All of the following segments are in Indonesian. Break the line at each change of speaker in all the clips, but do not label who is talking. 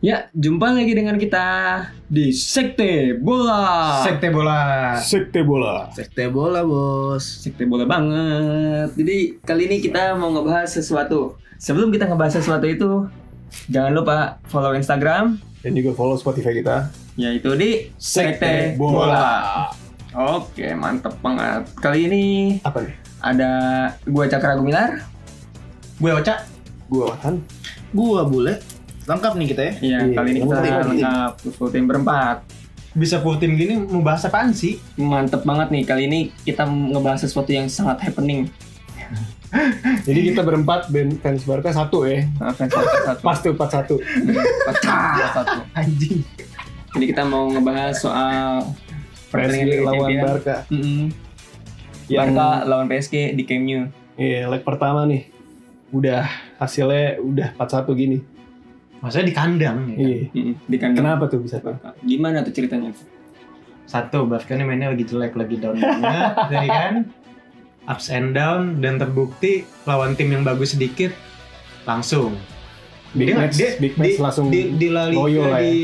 Ya, jumpa lagi dengan kita di Sekte Bola.
Sekte bola.
Sekte bola.
Sekte bola bos.
Sekte Bola banget. Jadi, kali ini kita mau ngebahas sesuatu. Sebelum kita ngebahas sesuatu itu, jangan lupa follow Instagram
Dan juga follow Spotify kita.
yaitu di
Sekte Bola.
Oke, mantep banget. Kali ini
Apa nih?
ada gua Cakra Gumilar.
Gue Oca.
Gua Watan.
Gua bule. Lengkap nih kita ya.
Iya,
Iya,
kali ini kita
full team, full team.
lengkap full team berempat.
Bisa full tim gini mau bahas apaan sih?
Mantep banget nih, kali ini kita ngebahas sesuatu yang sangat happening.
Jadi kita berempat band fans Barca satu ya.
Nah, fans Barca satu.
Pas tuh 41.
Pecah satu.
Anjing.
Jadi kita mau ngebahas soal pertandingan
PSG
Liga
lawan
Champions.
Barca.
Mm-mm.
Yang-
Barca lawan PSG di Camp Nou.
Iya, leg pertama nih. Udah hasilnya udah 4-1 gini.
Maksudnya di kandang. ya kan?
Iya.
Mm-mm, Di kandang.
Kenapa tuh bisa tuh?
Gimana tuh ceritanya?
Satu, Barca ini mainnya lagi jelek, lagi down banget, jadi kan ups and down dan terbukti lawan tim yang bagus sedikit langsung
Big
Dia-
match,
dia-
big
dia-
match langsung.
di di La Liga
loyo lah ya.
di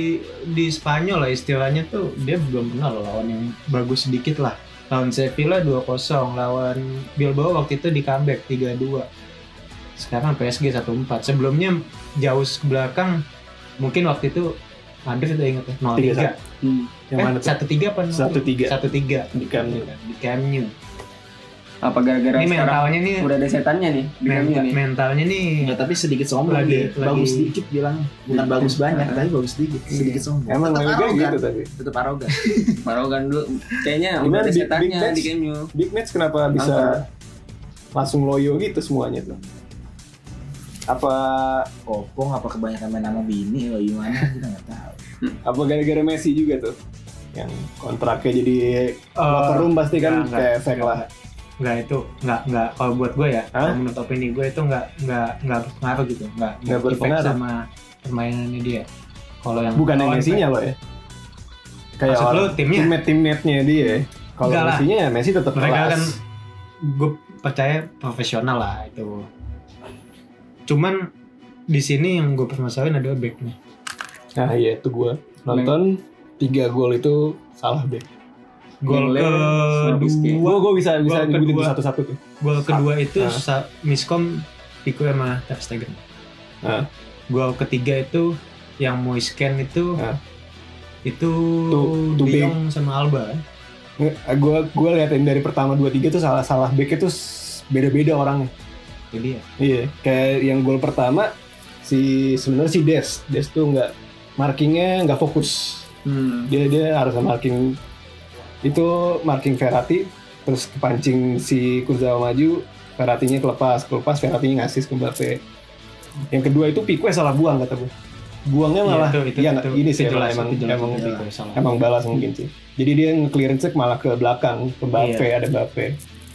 di Spanyol lah istilahnya tuh dia belum pernah loh lawan yang bagus sedikit lah lawan Sevilla 2-0 lawan Bilbao waktu itu di comeback 3-2 sekarang PSG 1-4 sebelumnya jauh ke belakang mungkin waktu itu Madrid udah inget ya 0-3
Hmm.
Yang mana tuh?
Eh, satu tiga apa
Satu tiga.
satu tiga
Di Camp Nou.
di Camp Nou.
Apa gara-gara
ini
sekarang
mentalnya nih
udah ada setannya nih di Camp Nou
mental-
nih?
mentalnya nih
Nggak, tapi sedikit sombong
Lagi-
lagi, Iya. Bagus
lagi-
sedikit bilang. Bukan bagus banyak, tapi bagus sedikit. Sedikit sombong.
Emang La
Tetap
Liga
arogan.
gitu tapi.
Tetap arogan.
Barogan dulu kayaknya udah
Gimana
ada
big- big
setannya
match?
di Camp Nou.
Big match kenapa bisa langsung loyo gitu semuanya tuh? Apa
Kopong apa kebanyakan main nama bini atau gimana kita nggak tahu.
apa gara-gara Messi juga tuh? Yang kontraknya jadi
Eh,
locker room pasti kan
enggak,
kayak fake
enggak.
lah.
nggak itu nggak nggak kalau buat gue ya
Hah?
kalau menurut opini gue itu nggak nggak nggak berpengaruh gitu nggak
Nggak
efek
berpengaruh.
sama permainannya dia kalau yang
Bukan yang
lawan-
Messi-nya loh ya. Kayak
Oh, Maksud lu
orang
timnya?
teammate-teammate-nya dia. Kalau
Enggak lah.
Messi-nya ya Messi tetap
mereka
kelas.
kan gue percaya profesional lah itu cuman di sini yang gue permasalahin adalah backnya
Nah iya itu gua nonton tiga gol itu salah deh.
gol
Gole, Swabuski.
kedua
Gua gua bisa bisa
Gol
nyebutin
kedua.
tuh satu-satu tuh.
Gol kedua itu
Nah.
sa- miskom Piku sama Ter Stegen.
Nah.
Gol ketiga itu yang mau scan itu
Nah.
itu De
Tu- Tupi.
Jong sama Alba. eh.
Nge- Eh, Gua gua liatin dari pertama dua tiga tuh salah salah back itu s- beda-beda orangnya.
Jadi ya.
Iya, kayak yang gol pertama si sebenarnya si Des, Des tuh nggak markingnya nggak fokus.
Hmm.
Dia dia harus marking itu marking Ferrati terus kepancing si Kurzawa maju, Ferratinya kelepas, kelepas Ferratinya ngasih ke Mbappe. Yang kedua itu Pique salah buang kata gue. Buangnya malah
itu, itu,
iya,
itu,
ini sih
itu jelas,
emang
itu jelas, Iya.
emang
itu jelas, salah.
emang balas mungkin sih. Jadi dia nge-clearance malah ke belakang, ke Mbappe,
Iya.
ada Mbappe.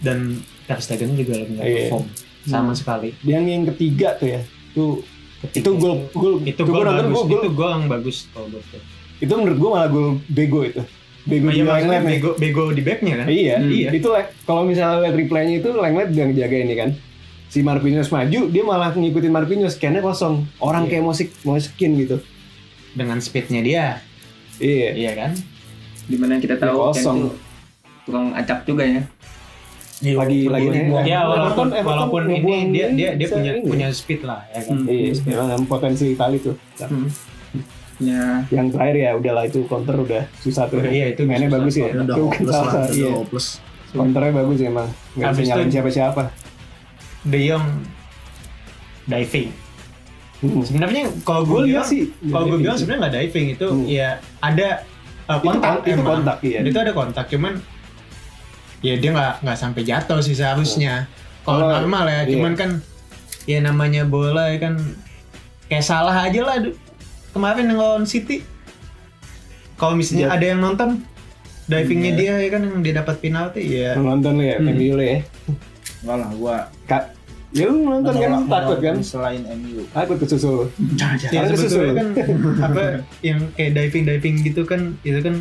dan Ter Stegen juga lagi nggak
Iya.
perform sama sekali.
Yang yang ketiga tuh ya, tuh itu gol gol
itu
tuh
gol
gua nonton,
bagus,
gua- gua-
itu gol yang bagus Oh, kalau buat gue.
itu menurut gue malah gol bego itu bego
Iya,
di ya.
maksudnya
Lenglet nih
bego, bego di backnya kan.
iya
Hmm.
iya itu le- kalau misalnya lihat replaynya itu Lenglet udah ngejaga ini kan si Marquinhos maju dia malah ngikutin Marquinhos scannya kosong orang
Iya.
kayak musik musikin gitu
Dengan speednya dia,
iya
iya kan?
Dimana kita
Ya,
tahu
kosong.
Ken tuh tukang acak juga ya.
lagi lagi
dibuang.
Iya, Ya
Everton-
walaupun
Everton
walaupun ini
ngebuang
dia dia dia
bisa
punya
ini.
punya speed lah ya kan.
Hmm.
iya memang potensi kali tuh
Hmm. Ya,
yang terakhir ya udahlah itu counter udah susah tuh
Iya, itu
mainnya
susah.
bagus ya
Udah
Tuh,
hopeless lah.
salah,
Udah
iya
hopeless.
counternya bagus ya, emang nggak bisa
Habis itu-
nyalain siapa siapa
De Jong diving. Sebenarnya kalau gue
Iya
bilang
sih
kalau gue bilang sebenarnya nggak diving itu
Hmm.
ya ada uh,
Itu
kontak
kon- itu
emang.
kontak, iya.
Itu ada kontak cuman ya dia nggak nggak sampai jatuh sih seharusnya. Kalau
Kalau-
normal ya,
iya.
cuman kan ya namanya bola ya kan kayak salah aja lah aduh. kemarin yang lawan City. Kalau misalnya
Iya.
ada yang nonton divingnya dia
Hmm.
ya kan yang dia dapat penalti ya
nonton lu ya
Hmm.
MU lu ya
Enggak lah, gua
Ka- Ya lu nonton kan
Menolak-
takut kan?
menolak Selain MU.
Takut kesusul.
Ya, sebetulnya
Karena kesusul.
kan apa yang kayak diving diving gitu kan itu kan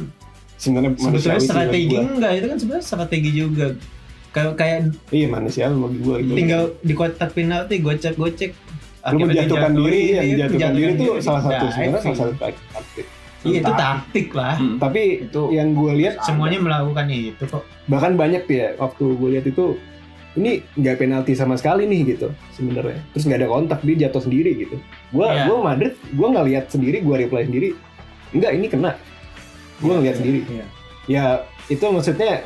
Sebenarnya manusiawi
sebetulnya
sih bagi
strategi
gua.
enggak itu kan sebenarnya strategi juga kayak kayak
Iya manusiawi bagi gua itu.
tinggal di kotak penalti gocek gocek
lu menjatuhkan diri, ya, menjatuhkan diri itu salah satu
Nah,
sebenarnya
itu-
salah satu taktik.
iya itu taktik lah
Hmm.
Tapi
Itu
yang gue lihat
semuanya melakukan itu kok
bahkan banyak tuh ya waktu gue lihat itu ini nggak penalti sama sekali nih gitu sebenarnya terus nggak ada kontak dia jatuh sendiri gitu gue
Iya.
gua Madrid gue nggak lihat sendiri gue reply sendiri enggak ini kena gue ngeliat sendiri
Iya.
ya itu maksudnya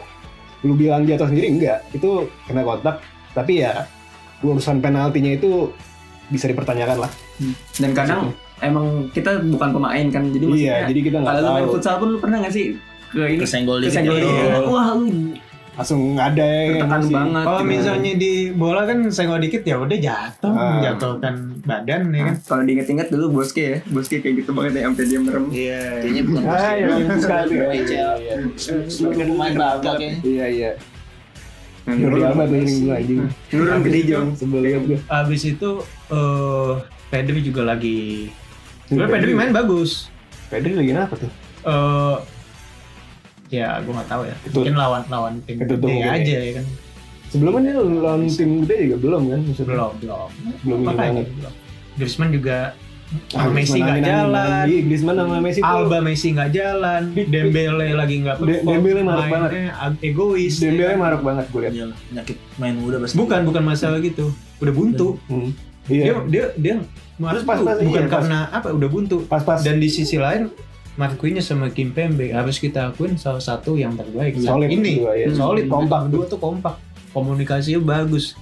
lu bilang jatuh sendiri enggak itu kena kontak tapi ya urusan penaltinya itu bisa dipertanyakan lah
Dan kadang emang kita bukan pemain kan, jadi maksudnya
Gitu. iya jadi kita nggak
kalau lu main
tahu
futsal pun lu pernah nggak sih ke ini
kesenggol dikit.
kesenggol
ya.
dikit?
Iya.
Wah, lu
langsung ada
tertekan banget.
Kalau
gitu.
misalnya di bola kan senggol dikit ya udah jatuh,
Ah.
jatuhkan badan ya kan.
Iya Kalau diinget-inget dulu Boske ya, Boske kayak gitu banget ya, sampai dia merem.
Iya.
Kayaknya bukan
ah ya bagus sekali
Iya, iya. Seluruh pemain rata kayaknya.
iya iya
Nurun,
Nyuruh amat anjing gua, anjing
nurun gede jong.
sebel banget gua.
Abis itu eh Pedri juga lagi. Sebenarnya Pedri main bagus.
Pedri lagi apa tuh?
Eh ya gue nggak tahu ya.
Itu-
Mungkin lawan lawan tim
itu tuh
gede
mungkin
aja
ya.
ya kan.
Sebelumnya dia lawan tim gede juga belum kan? Maksudnya.
Belum belum.
Belum ini
Makanya
banget.
belum. Griezmann juga
Ah,
Messi
Griezmann
nggak
angin-angin,
jalan.
angin-angin. Iya, Griezmann sama Messi tuh
Alba Messi nggak jalan,
Di-
Dembele lagi nggak
De- Dembele marah banget.
mainnya ag- egois.
Dembele maruk banget gue lihat.
Iya, Penyakit main muda pasti.
Bukan bukan masalah gitu, udah buntu.
Hmm. Iya.
dia dia dia marah
Terus pas-
tuh
pas-
bukan
iya, pas-
karena apa udah buntu
Pas-pas.
dan di sisi lain Marquinhos sama Kim Pembe harus kita akuin salah satu yang terbaik saat
Solid
ini
kedua, ya.
Hmm, solid
Kompak.
dua tuh kompak komunikasinya bagus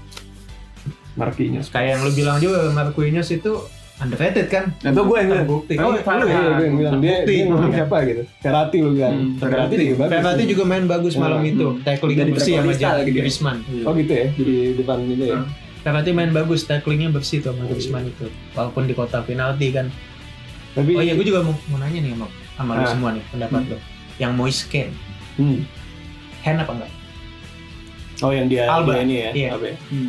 Marquinhos.
kayak yang lu bilang juga Marquinhos itu underrated kan
Nah, itu gue yang bilang.
terbukti
Oh,
oh,
lu ya, gue yang bilang dia,
Terbukti.
dia ngomong siapa gitu. Ferrati lu bilang.
Hmm,
Ferrati juga bagus.
Ferrati juga main bagus malam
Hmm.
itu tacklingnya
Jadi
bersih sama
tackle style gitu ya.
Griezmann
Oh gitu ya di depan gitu ya.
Hmm.
Ferrati main bagus tacklingnya bersih tuh sama Griezmann itu walaupun di kotak penalti kan
Tapi
Oh iya, gue juga mau, mau nanya nih sama, sama lu
Ah.
semua nih pendapat lo. Yang mau scan,
Hmm.
hand apa enggak?
Oh yang dia,
Alba.
dia ini ya.
Iya.
Alba ya.
Hmm.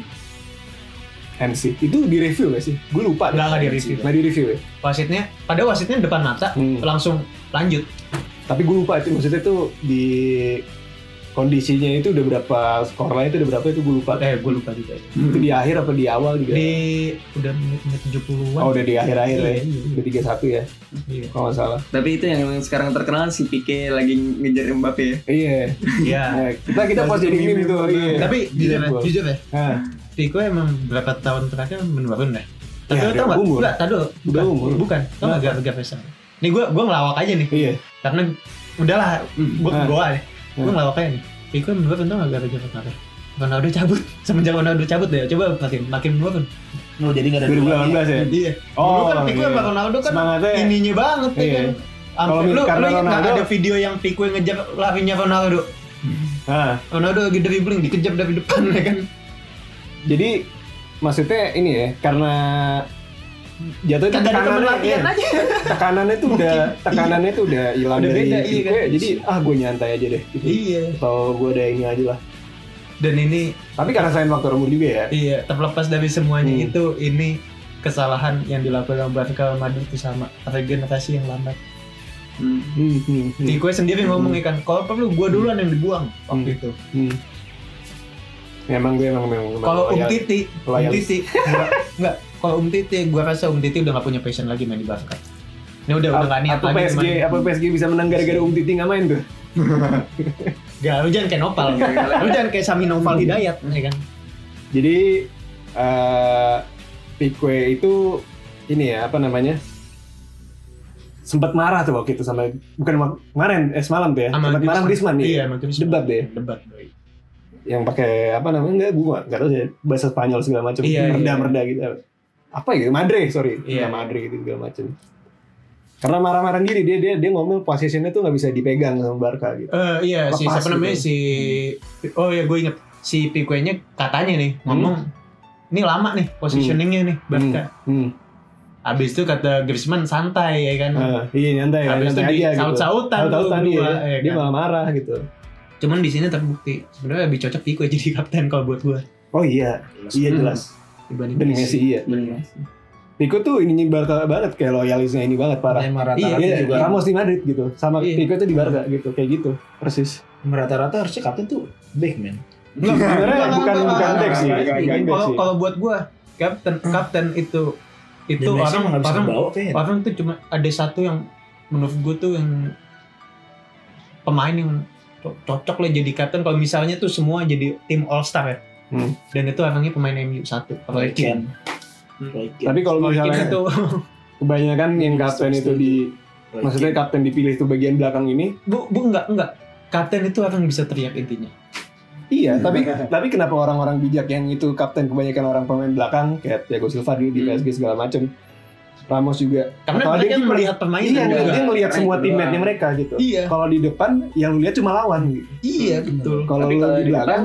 Hansi. Itu di review gak sih? Gue lupa.
Enggak enggak di
Hansi.
review.
Nggak di review ya.
Wasitnya, pada wasitnya depan mata,
Hmm.
langsung lanjut.
tapi gue lupa itu maksudnya tuh di kondisinya itu udah berapa skor lain itu udah berapa itu gue lupa
Eh, gue lupa juga. ya.
itu di akhir apa di awal juga
Di udah menit-menit 70-an.
Iya. oh udah di akhir-akhir
iya,
ya
iya,
udah tiga satu ya
iya.
kalau nggak salah
Tapi itu yang sekarang terkenal si Pique lagi ngejar Mbappe ya.
iya
Iya.
Nah, kita kita
Masih
pas jadi
di
meme
meme
itu iya Nah,
Tapi jujur ya,
Gua.
jujur ya.
Hah,
Pico emang berapa tahun terakhir menurun deh. Tapi lo tau
Ya, udah
gak?
umur.
Enggak, tadi
Udah umur.
Bukan, tau gak
Kenapa?
gara-gara pesan. Nih gue gue ngelawak aja nih,
iya
karena udahlah gue
Ah.
gue nih. Gue
Ah.
ngelawak aja nih. Pico menurun tau gak gara-gara Ronaldo? Ronaldo cabut, semenjak Ronaldo cabut deh, coba makin makin menurun.
Oh, jadi enggak ada
2018 ya
Iya. Dulu
oh
kan Pico
iya.
sama Ronaldo kan
semangatnya
ininya banget ya
Iya.
kan.
Kalau
Sampai- lu, lu
karena
ingat nggak
Ronaldo-
ada video yang Pico yang ngejar larinya Ronaldo.
Hah,
Ronaldo lagi dribbling dikejar dari depan ya kan.
jadi maksudnya ini ya karena jatuh itu
Kagak ada temen
tekanannya,
latihan
iya.
aja.
tekanannya tuh udah tekanannya tuh udah hilang
Udah
dari
beda, iya
Pique,
kan?
jadi ah gue nyantai aja deh gitu.
Iya.
atau gue ada ini aja lah
Dan ini
tapi karena saya faktor umur juga ya
Iya, terlepas dari semuanya
Hmm.
itu, ini kesalahan yang dilakukan oleh Barca Madrid itu sama regenerasi yang lambat.
Hmm.
hmm, hmm, hmm,
Di gue sendiri
Hmm.
ngomong kan, kalau perlu gue duluan yang dibuang waktu
Hmm.
itu.
hmm. Memang gue emang memang memang
Kalau Um
loyal.
Titi, Um
Loyal.
Titi, enggak, enggak. Kalau Um Titi, gue rasa Um Titi udah gak punya passion lagi main di Barca. Ini udah ya, udah
A-
gak niat
apa
lagi
PSG
main.
apa PSG bisa menang gara-gara Um Titi nggak main tuh
Gak, lu jangan kayak Nopal, lu jangan kayak Sami
Iya.
Nopal Hidayat, ya kan?
jadi eh Pique itu ini ya apa namanya sempat marah tuh waktu itu sama bukan ma- kemarin eh semalam tuh ya
Sama
sempat marah Griezmann
Iya,
ya
sama Griezmann.
Debat deh.
Debat, doi.
yang pakai apa namanya enggak bunga enggak tahu sih bahasa Spanyol segala macam
Iya, iya.
merda merda gitu apa ya Madre sorry
Iya.
iya. Madre gitu segala macam karena marah-marah diri dia dia dia ngomel posisinya tuh nggak bisa dipegang sama Barca gitu
Eh iya si
Lepas
siapa namanya
gitu. Hmm.
si oh ya gue inget si Pique-nya katanya nih ngomong ini lama nih positioningnya nih Barca.
hmm.
Abis itu kata Griezmann santai ya kan.
Ah, iya nyantai
Abis itu
nyantai
di
aja gitu
saut-sautan tuh
tahu tadi
berdua,
ya,
ya
dia
kan?
malah marah gitu
Cuman di sini terbukti sebenarnya lebih cocok Pique jadi kapten kalau buat gue.
oh iya iya
Hmm.
jelas
dibanding
dan Messi iya.
Bener.
Pico tuh ininya Barca banget kayak loyalisnya ini banget parah.
Emang rata-rata
Iya,
juga
Ramos di Madrid gitu. Sama
Iya.
Pico tuh di Barca gitu, kayak gitu. Persis.
rata-rata harusnya kapten tuh back man.
Enggak, sebenarnya
Enggak,
bukan
enggak,
bukan
enggak,
back sih.
enggak,
Bukan
enggak, enggak.
back
Kalau
sih.
kalau buat gua kapten kapten itu itu
Dan Messi
orang
nggak bisa
orang
bawa
Iya.
kayaknya.
orang tuh cuma ada satu yang menurut gua tuh yang pemain yang co- cocok lah jadi kapten kalau misalnya tuh semua jadi tim all star ya.
Hmm.
Dan itu orangnya pemain MU satu. Roy
Roy Keane.
Keane.
Roy Keane.
Tapi kalau
Roy Keane
misalnya
itu
kebanyakan yang kapten itu di
Roy
maksudnya
Keane.
kapten dipilih tuh bagian belakang ini,
bu bu enggak enggak. Kapten itu orang yang bisa teriak intinya.
iya, tapi tapi kenapa orang-orang bijak yang itu kapten kebanyakan orang pemain belakang kayak Thiago Silva dulu di
Hmm.
PSG segala macam. Ramos juga.
Karena
Atau ada
mereka
yang kiper.
melihat permainan
Iya,
juga.
dia ngelihat
Karena
semua
itu
teammate-nya
doang.
mereka gitu.
Iya,
Kalau di depan yang lu lihat cuma lawan gitu.
iya
Hmm.
betul.
Kalau
Tapi
lu
kalau
di
di depan,
belakang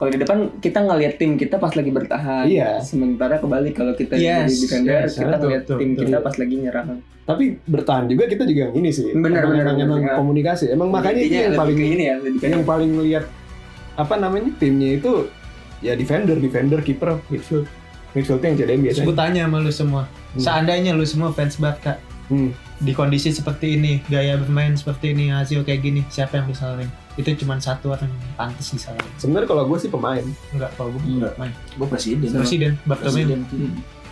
kalau di depan kita ngelihat tim kita pas lagi bertahan.
Iya.
Sementara kebalik kalau kita
Yes,
jadi defender,
yes,
kita
betul,
ngelihat
betul,
tim
betul.
kita pas lagi nyerang.
tapi bertahan juga kita juga ini
Benar,
sih Emang-
benar,
emang,
benar,
emang
benar.
komunikasi emang makanya itu
Intinya
yang
lebih
paling
ke ini ya, lebih ke
yang paling lihat apa namanya timnya itu ya defender defender kiper midfield midfield yang
Terus
CDM biasanya
gue tanya sama lu semua,
Hmm.
seandainya lu semua fans Barca
Hmm.
di kondisi seperti ini, gaya bermain seperti ini, hasil kayak gini, siapa yang disalahin? Itu cuma satu orang yang pantas disalahin.
sebenarnya kalau gue sih pemain
Enggak, kalau gue
Enggak.
main.
Gua presiden.
Presiden, Bartomeu.
Presiden.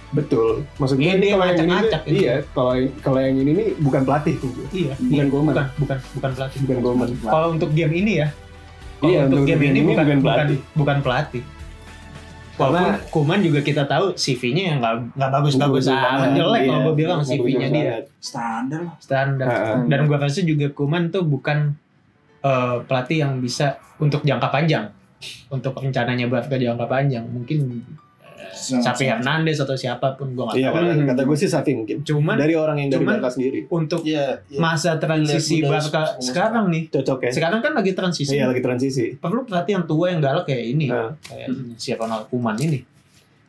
betul maksud gue
Iya,
ini
dia
kalau yang ini
ngacak-ngacak
tuh-
gitu.
iya kalau yang- kalau yang ini nih bukan pelatih tuh gua.
Iya,
bukan Goman
bukan, bukan, bukan pelatih.
bukan Goman
Kalau untuk game ini ya, kalau
Iya,
untuk,
untuk
game, ini
game ini
bukan,
bukan
bukan,
pelatih.
bukan pelatih. Walaupun
Karena-
Kuman juga kita tahu CV-nya yang nggak nggak bagus-bagus amat jelek kalau gue bilang CV-nya dia
Standar lah.
standar.
Nah.
dan gua rasa juga Kuman tuh bukan eh, pelatih yang bisa untuk jangka panjang untuk rencananya buat ke jangka panjang mungkin Sapi Hernandez atau siapapun gua nggak
iya
tahu
kata,
Hmm.
kata gue sih Safi mungkin
cuman
dari orang yang dari
cuman-
Barca sendiri
untuk
Iya, iya.
masa transisi
Lihat budaya
Barca
sekolah.
sekarang nih
cocok ya
sekarang kan lagi transisi
iya lagi transisi
perlu pelatih yang tua yang galak kayak
Iya.
ini
Nah.
kayak si Ronald Kuman ini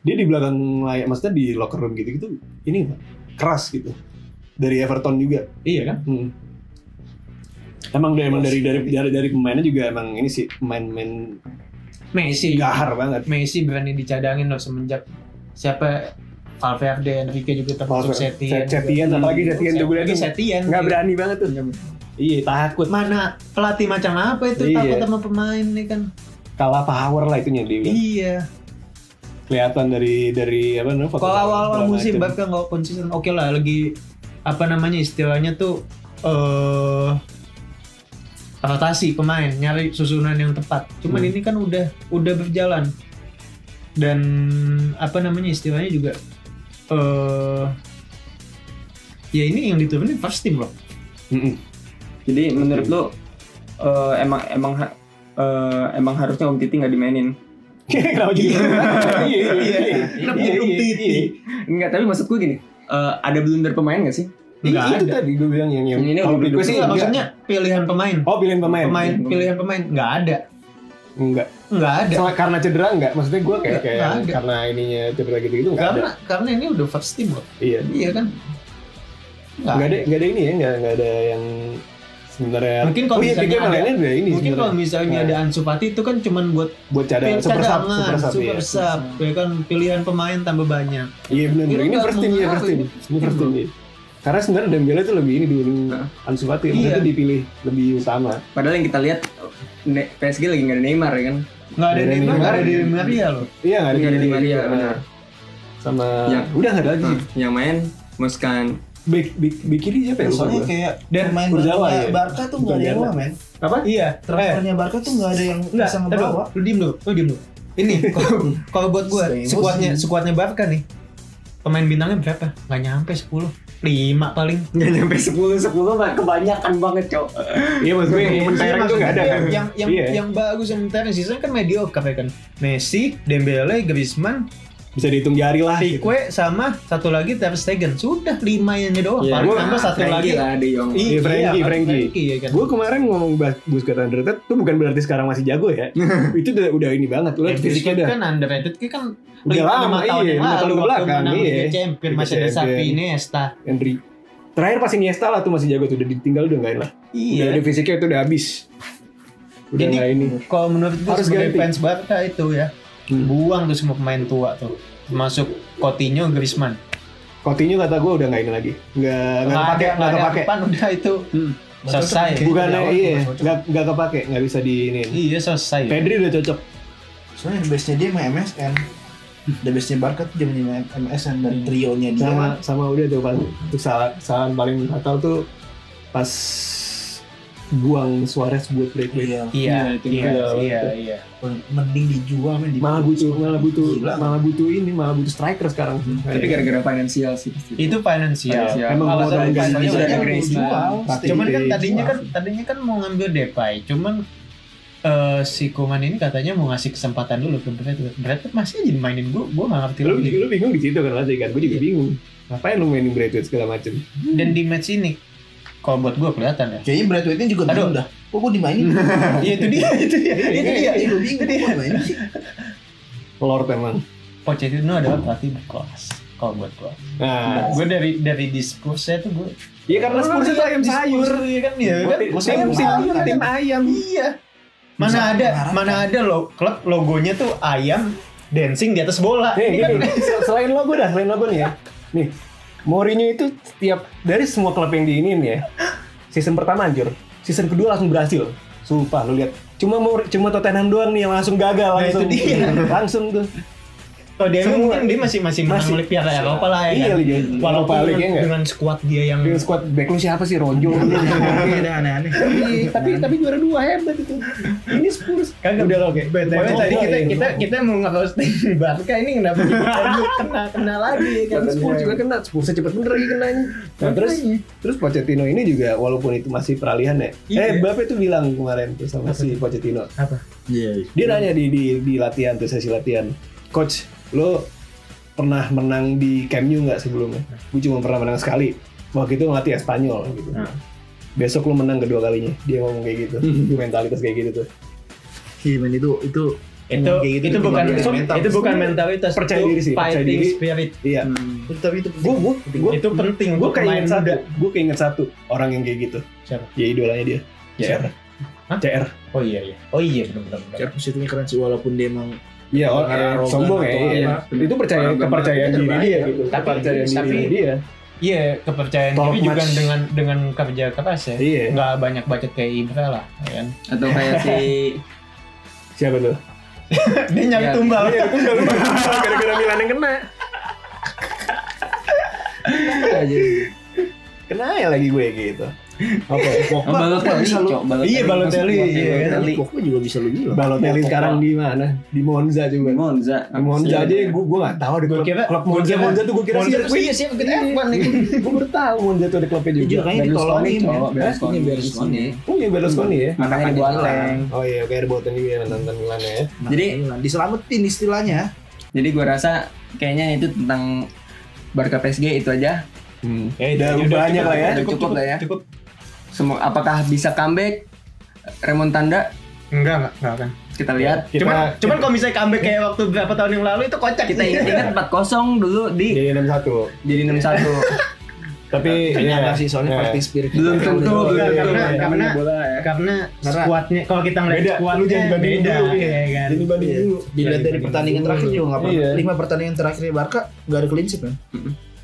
dia di belakang layar maksudnya di locker room gitu gitu ini keras gitu dari Everton juga
iya kan
Hmm. emang dari emang dari dari dari, dari pemainnya juga emang ini sih pemain-pemain
Messi
gahar banget
Messi berani dicadangin loh semenjak siapa Valverde, Enrique juga termasuk
Valverde.
Setien.
Setien, apalagi Setien juga
Apalagi
tuh.
Setien.
nggak berani banget tuh iya takut
Mana pelatih macam apa itu
Iya.
takut sama pemain nih kan?
kalah power lah itunya dia
Iya.
kelihatan dari dari apa namanya foto-
Kalau awal-awal
segala
musim
macam.
bakal nggak konsisten, oke lah lagi apa namanya istilahnya tuh eh rotasi pemain, nyari susunan yang tepat. Cuman
Hmm.
ini kan udah udah berjalan dan apa namanya istilahnya juga eh ya ini yang diturunin first team loh.
Mm-mm.
Jadi menurut lu eh, emang emang ha- eh, emang harusnya Om Titi nggak dimainin.
kenapa jadi iya iya iya
Kenapa
Iya,
jadi
iya,
Titi?
iya.
Enggak, tapi maksud gue gini, eh, ada blunder pemain nggak sih?
Nggak
Iya, itu
ada.
tadi gue bilang yang yang
Ini udah
kalau gue
duduk
Enggak,
sih enggak.
maksudnya pilihan pemain,
oh pilihan pemain
pemain pilihan pemain nggak ada,
enggak
nggak ada.
Soal- karena cedera enggak maksudnya gue kayak
Enggak,
kayak
enggak ada.
karena ininya cedera gitu gitu enggak ada
Karena karena ini udah first team loh.
iya
Iya kan? Nggak
enggak ada enggak ada ini ya enggak enggak ada yang sebenarnya
Mungkin kalau
oh iya
misalnya
tiga
ada-
lainnya ada
Mungkin
ini
kalau
sebenarnya
misalnya
Nah.
ada Ansu Fati itu kan cuman buat
buat cadangan
pil-
super sub
cadangan,
super sub iya
super sub, ya kan pilihan pemain tambah banyak.
iya benar benar ini
Ini
first team ya
nggak
first team ini first team iya. karena sebenarnya Dembele itu lebih ini dibanding Ansu Fati
Iya.
itu dipilih lebih utama
Padahal yang kita lihat ne- PSG lagi nggak ada Neymar ya kan?
Nggak ada
Nggak ada
Neymar, nggak ada
Neymar.
Di Maria loh.
iya nggak ada
Nggak ada
Dembele
Di Maria,
juga.
benar.
sama
Yang-
udah nggak ada lagi
Nah, yang main Kan. Muskan
back back back kiri siapa ya lupa
Soalnya
gua.
kayak
Dan
pemain
Kurzawa
Barca,
ya?
Barca tuh nggak ada yang
Bukan
bawa, men.
apa
Iya, terakhir.
Transfernya Barca tuh nggak ada yang
Enggak,
bisa
aduh,
ngebawa.
lu diem dulu, lu diem dulu. Ini kalau- kalau buat gua
Stay emosi.
sekuatnya sekuatnya Barca nih. Pemain bintangnya berapa? Nggak nyampe 10. 5 paling.
nggak nyampe 10 10 mah kebanyakan banget cok.
iya maksud gue yang mentereng itu nggak ada kan
Yang yang yang,
Iya.
yang bagus yang mentereng sisanya kan mediocre ya kan. Messi, Dembele, Griezmann,
bisa dihitung jari lah gitu.
Pique sama satu lagi Ter Stegen. Sudah lima yang ini doang.
Iya,
Paling
gua-
tambah satu lagi.
lah De Jong.
Iya,
Frankie,
paling
Frankie.
ya kan.
Gue kemarin ngomong bahas Busquets underrated tuh bukan berarti sekarang masih jago ya. itu udah, udah ini banget. Lu lihat
Davis
fisiknya dah.
kan underrated Dia kan
Udah
lima-
lama,
lima tahun
iya,
yang
lima
lalu
tahun
waktu
kebelakang,
menang Liga
iya.
Champion
Liga
masih ada
Champion.
Xavi Iniesta.
Henry. Terakhir pas Iniesta lah tuh masih jago tuh udah ditinggal udah enggak lah. Udah
Iya.
ada fisiknya itu udah habis. Udah
Jadi
nggak ini.
kalau menurut gue
Harus
sebagai
ganti.
fans Barca itu ya
Hmm.
buang tuh semua pemain tua tuh. masuk Coutinho, Griezmann.
Coutinho kata gue udah nggak ini lagi, nggak nggak
Nggak ada,
kepake, nggak
nggak ada
kepake.
depan udah itu selesai.
Bukan
Dari awal
iya,
nggak cocok.
nggak nggak kepake, nggak bisa di ini.
Iya selesai.
Pedri udah cocok.
Soalnya the best-nya dia sama MSN. The best-nya Barca tuh zaman zaman MSN dan
Hmm.
trionya dia.
sama sama udah tuh kan kesalahan kesalahan paling fatal tuh pas buang Suarez buat break break
Iya.
Iya,
Iya, itu
iya,
udah.
iya, iya.
Mending dijual men di
malah butuh malah butuh
Gila.
malah butuh ini malah butuh striker sekarang
Tapi
Kayak-
gara-gara financial sih pasti.
Itu finansial.
Finansial.
emang
Alasan
modal
udah ada
gajinya udah
Griezmann.
dijual.
Tapi-
Cuman kan
Iya,
tadinya kan tadinya kan mau ngambil Depay, cuman eh, si Kuman ini katanya mau ngasih kesempatan dulu ke Bradwood. Bradwood masih aja dimainin gua, gua nggak ngerti
lu
lagi.
lu bingung di situ kan lagi kan gue juga bingung ngapain lu mainin Bradwood segala macem
Dan di match ini, kalau buat gua kelihatan ya.
Kayaknya berat weightnya juga
Aduh.
bingung dah. Kok gue dimainin?
Iya itu dia, itu dia, itu dia.
Iya, gue bingung. Kok dimainin sih?
Lord emang
Pochettino adalah pelatih berkelas kalau buat gua.
nah
Gue dari dari diskurse tuh gue
iya karena
kan
Spurs itu ayam sayur
Iya kan ya kan.
Tim-
Maksudnya
tim tim
ayam,
tim
ayam.
ayam
Iya. Mana
Bisa
ada
mengharapkan.
mana ada lo klub logonya tuh ayam dancing di atas bola.
Nih,
Ini kan
gini, sel- selain logo dah, selain logo nih ya. Nih, Mourinho itu tiap dari semua klub yang diinin ya. Season pertama anjir, season kedua langsung berhasil. Sumpah lu lihat. Cuma Mour- cuma Tottenham doang nih yang langsung gagal
Nah,
langsung.
itu dia.
Langsung tuh.
kalau dia
Semua.
mungkin dia masih masih menang
Masih.
oleh Piala Eropa lah ya.
Iya,
kan?
Liga
Walaupun
Eropa, Liga
dengan,
enggak?
dengan skuad dia yang
Dengan squad back lu siapa sih Ronjo?
Iya.
Ada aneh-aneh.
Tapi- tapi tapi juara dua hebat itu. Ini Spurs.
Kagak udah oke. BTW
Pokoknya
tadi
gua
kita
yang
kita
ngomong.
kita mau nge-roasting Barca ini kenapa kita kena kena lagi ya kan.
Kan Spurs juga kena, Spurs cepet bener lagi kenanya. Nah, terus terus Pochettino ini juga walaupun itu masih peralihan ya.
Iya.
Eh, Bape tuh bilang kemarin tuh sama si Pochettino.
apa?
Iya.
dia nanya di, di di latihan tuh sesi latihan coach lo pernah menang di Camp Nou nggak sebelumnya gue cuma pernah menang sekali waktu itu ngelatih Espanyol gitu
Hmm.
besok lo menang kedua kalinya dia ngomong kayak gitu Itu mentalitas kayak gitu tuh
Iya, men itu itu
Itu
Kayak gitu
itu
tuh
bukan
kemampuan mental.
itu bukan mentalitas.
Percaya
itu
diri sih, percaya
Fighting
diri.
spirit.
iya
tapi itu
gue gue gue
Itu penting
gue
untuk pemain
keinget satu
muda.
gue keinget satu orang yang kayak gitu
Siapa?
ya idolanya dia CR
Siapa? Hah?
CR
Oh iya iya. Oh iya benar benar.
Cara positifnya keren sih walaupun dia emang
iya
Orang
orang eh,
arogan
sombong ya
atau
iya.
apa.
itu percaya
Orang
kepercayaan
gampang.
diri dia gitu
Tapi-
kepercayaan
tapi-
diri dia
Iya, kepercayaan
Talk
diri juga
much.
dengan dengan kerja keras ya.
iya
Nggak banyak bacot kayak Ibra lah, ya kan.
Atau kayak si
siapa tuh
Dia
Ya.
nyari tumbal.
gara-gara Milan yang kena kena ya lagi gue gitu oke Pogba
Oh, Balotelli,
bisa lu-
Cok. Balotelli.
Iya, Balotelli, iya kan.
Balotelli.
Pokoknya juga bisa lu bilang.
Balotelli sekarang di mana di Monza
Di
juga
Monza.
di Monza aja gue gue nggak tahu ada
Gue
klub,
kira-
klub
gue
Monza
kira-
Monza tuh gue kira
Monza tuh
sih
iya, sirkuit F1 nih.
gue baru tahu Monza tuh ada klubnya juga
Jujur kayaknya
Berlusconi,
ditolongin.
cowok.
men.
Berlusconi.
Ini Berlusconi.
oh iya ya. Berlusconi ya
Makanya
Makanya
Boateng.
oh iya kayak ada Bolton juga yang nonton Milan ya
Jadi
Nah, diselamatin istilahnya.
jadi gue rasa kayaknya itu tentang Barca PSG itu aja.
Ya,
Hmm. Udah
itu-
banyak lah ya.
Cukup lah ya.
Cukup.
Semua apakah bisa comeback remontanda
Enggak, enggak, enggak kan.
kita lihat.
Kita-
cuman cuman kalau misalnya comeback kayak waktu berapa tahun yang lalu itu kocak
Kita
Iya.
ingat-ingat 4-0 dulu di
jadi enam satu
jadi 6-1.
tapi
Ternyata
iya,
sih soalnya
iya.
fighting spirit.
belum
kita
tentu
Enggak,
udah-
belum tentu.
karena-
Namanya
karena-
bola ya.
karena
Karena-
skuadnya kalau kita ngeliat
Beda, lu
skuadnya
jangan bandingin
beda,
dulu, iya.
ya kan.
Jadi banding dulu
Dilihat dari
Iya.
pertandingan terakhir juga nggak
Iya.
pernah. Lima pertandingan terakhir di Barca nggak ada clean sheet kan?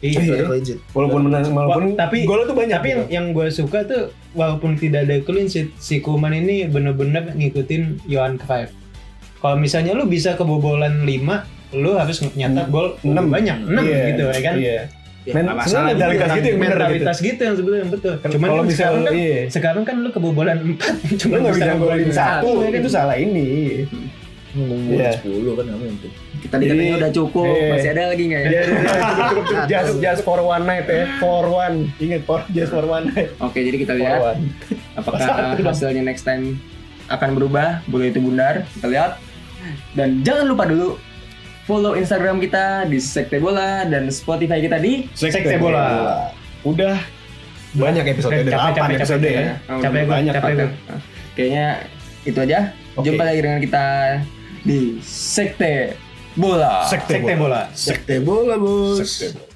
Iya.
Nggak ada clean sheet.
walaupun menang walaupun
Wah, tapi-
golnya tuh banyak
Tapi yang, yang gue suka tuh walaupun tidak ada clean sheet, si Kuman ini bener-bener ngikutin Johan Cruyff. Kalau misalnya lu bisa kebobolan 5, lu harus nyetak gol
Enam.
lebih banyak, 6
Iya,
gitu ya kan.
iya.
Ya,
Men-
nggak
sebenarnya
masalah.
mentalitas gitu yang bener gitu.
Mentalitas gitu yang sebetulnya yang betul. Cuman
kalau
kan
bisa
sekarang kan
iya.
sekarang kan lu kebobolan 4
Lu
cuma
nggak bisa golin satu,
satu,
itu salah ini.
Ngomong
Iya.
10 kan nggak mungkin.
Tadi
Jadi-
katanya udah cukup,
Eh.
masih ada lagi nggak ya?
Ya, cukup, cukup, cukup. just, just for one night ya, for one. Ingat, for, just for one night.
Oke, jadi kita
For
lihat
one.
apakah hasilnya next time akan berubah bola itu bundar kita lihat dan jangan lupa dulu follow Instagram kita di Sekte Bola dan Spotify kita di
Sekte bola. Udah banyak episode,
Eh,
ada
capek,
8
capek,
episode
capek.
ya.
Ah, udah
Capek gue,
banyak
capek gue.
Nah, kayaknya itu aja
Oke.
jumpa lagi dengan kita di Sekte Bola
Sekte bola.
Sekte bola bos.
Sekte bola.